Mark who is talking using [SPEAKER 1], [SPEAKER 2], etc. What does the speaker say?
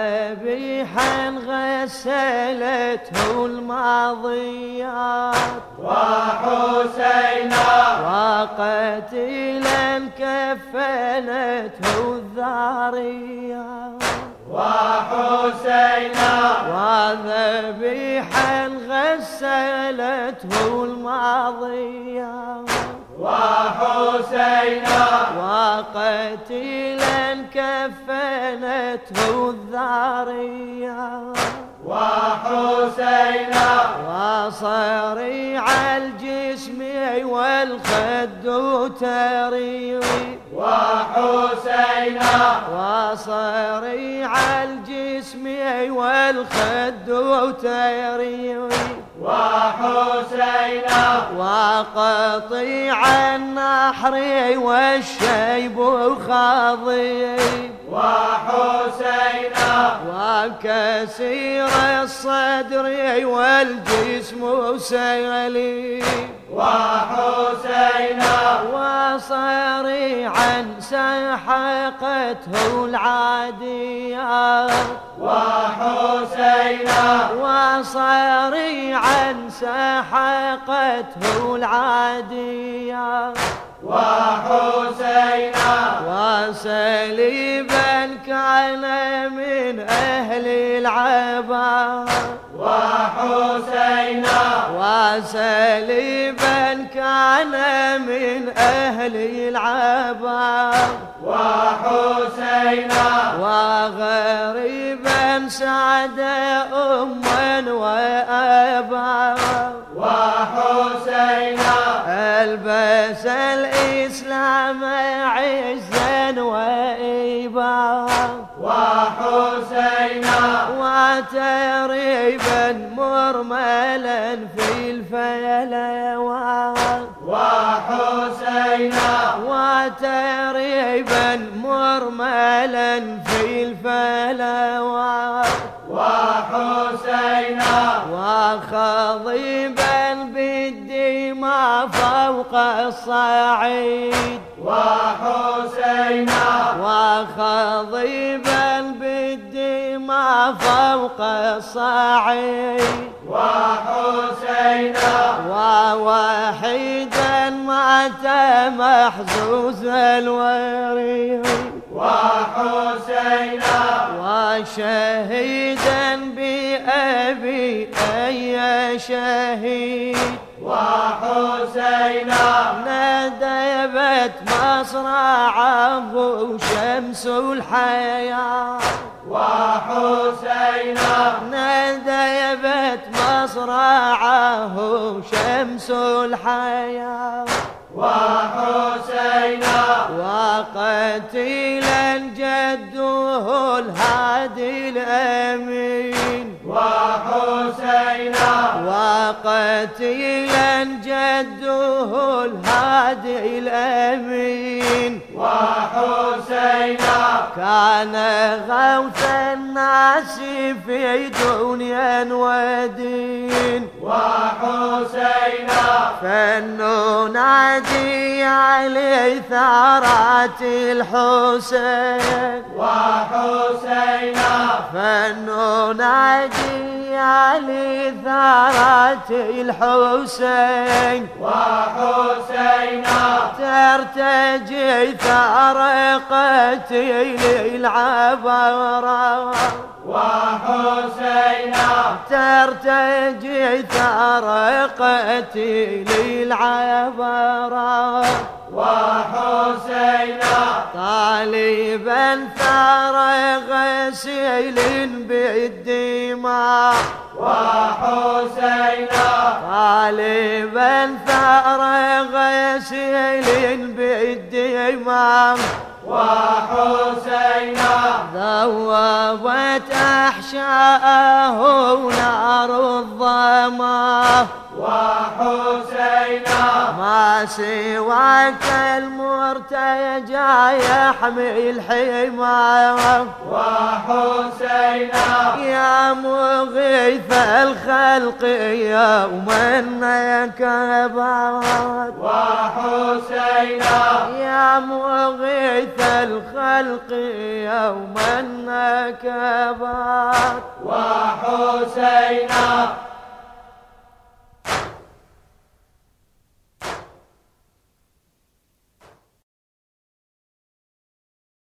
[SPEAKER 1] وذبيحا غسلته الماضيات
[SPEAKER 2] وحسينا
[SPEAKER 1] وقتيلا كفنته الذاريات
[SPEAKER 2] وحسينا
[SPEAKER 1] وذبيحا غسلته الماضيات
[SPEAKER 2] وحسينا
[SPEAKER 1] وقتيلا كفنته الذاريات
[SPEAKER 2] وحسينا
[SPEAKER 1] وصريع الجسم والخد تريوي
[SPEAKER 2] وحسينا
[SPEAKER 1] وصريع الجسم والخد تريوي
[SPEAKER 2] وحسينا
[SPEAKER 1] وقطيع النحر والشيب خضيب
[SPEAKER 2] وحسينا
[SPEAKER 1] وكسير الصدر والجسم سيلي
[SPEAKER 2] وحسينا
[SPEAKER 1] وصريعا سحقته العادية
[SPEAKER 2] وحسينا
[SPEAKER 1] وصريعا سحقته العادية
[SPEAKER 2] وحسينا
[SPEAKER 1] وسليبا كان من أهل العباد
[SPEAKER 2] وحسينا
[SPEAKER 1] وسليبا كان من أهل العباد
[SPEAKER 2] وحسينا
[SPEAKER 1] وغريبا سعد أما وأبا
[SPEAKER 2] وحسينا
[SPEAKER 1] ألبس الإسلام عزا وإيبا
[SPEAKER 2] وحسينا
[SPEAKER 1] وتريبا مرملا في الفلوات
[SPEAKER 2] وحسينا
[SPEAKER 1] وتريبا مرملا في الفلوات
[SPEAKER 2] وحسينا
[SPEAKER 1] وخضيبا بالدماء فوق الصعيد
[SPEAKER 2] وحسينا
[SPEAKER 1] وخضيبا بالدماء فوق الصعيد
[SPEAKER 2] وحسينا
[SPEAKER 1] ووحيدا مات محزوز الوريد
[SPEAKER 2] وحسينا
[SPEAKER 1] وشهيدا بأبي أي شهيد
[SPEAKER 2] وحسينا
[SPEAKER 1] ندبت مصرعه شمس الحياة
[SPEAKER 2] وحسينا
[SPEAKER 1] ندبت مصرعه شمس الحياة
[SPEAKER 2] وحسينا
[SPEAKER 1] وقتيلا جده الهادي الأمين
[SPEAKER 2] وحسينا
[SPEAKER 1] وقتيلا جده الهادي الأمين
[SPEAKER 2] وحسينا
[SPEAKER 1] كان غوث الناس في دنيا ودين
[SPEAKER 2] وحسينا
[SPEAKER 1] فلننادي عليه ثارات الحسين
[SPEAKER 2] وحسينا
[SPEAKER 1] فلننادي عليه ثارات الحسين
[SPEAKER 2] وحسينا
[SPEAKER 1] ترتجي ثارقتي للعبره
[SPEAKER 2] وحسينا
[SPEAKER 1] ترتجي ثرقتي للعبرة
[SPEAKER 2] وحسينا
[SPEAKER 1] طالبا ثار غسيل بالدماء
[SPEAKER 2] وحسينا
[SPEAKER 1] طالبا ثار غسيل بالدماء
[SPEAKER 2] وحسينا
[SPEAKER 1] ذوبت أحشاءه نار الظمأ
[SPEAKER 2] وحسينا
[SPEAKER 1] ما سواك المرتجى يحمي الحمى
[SPEAKER 2] وحسينا
[SPEAKER 1] يا مغيث الخلق يوما يكبر
[SPEAKER 2] وحسينا
[SPEAKER 1] يا مغيث الخلق يوما كبر
[SPEAKER 2] وحسينا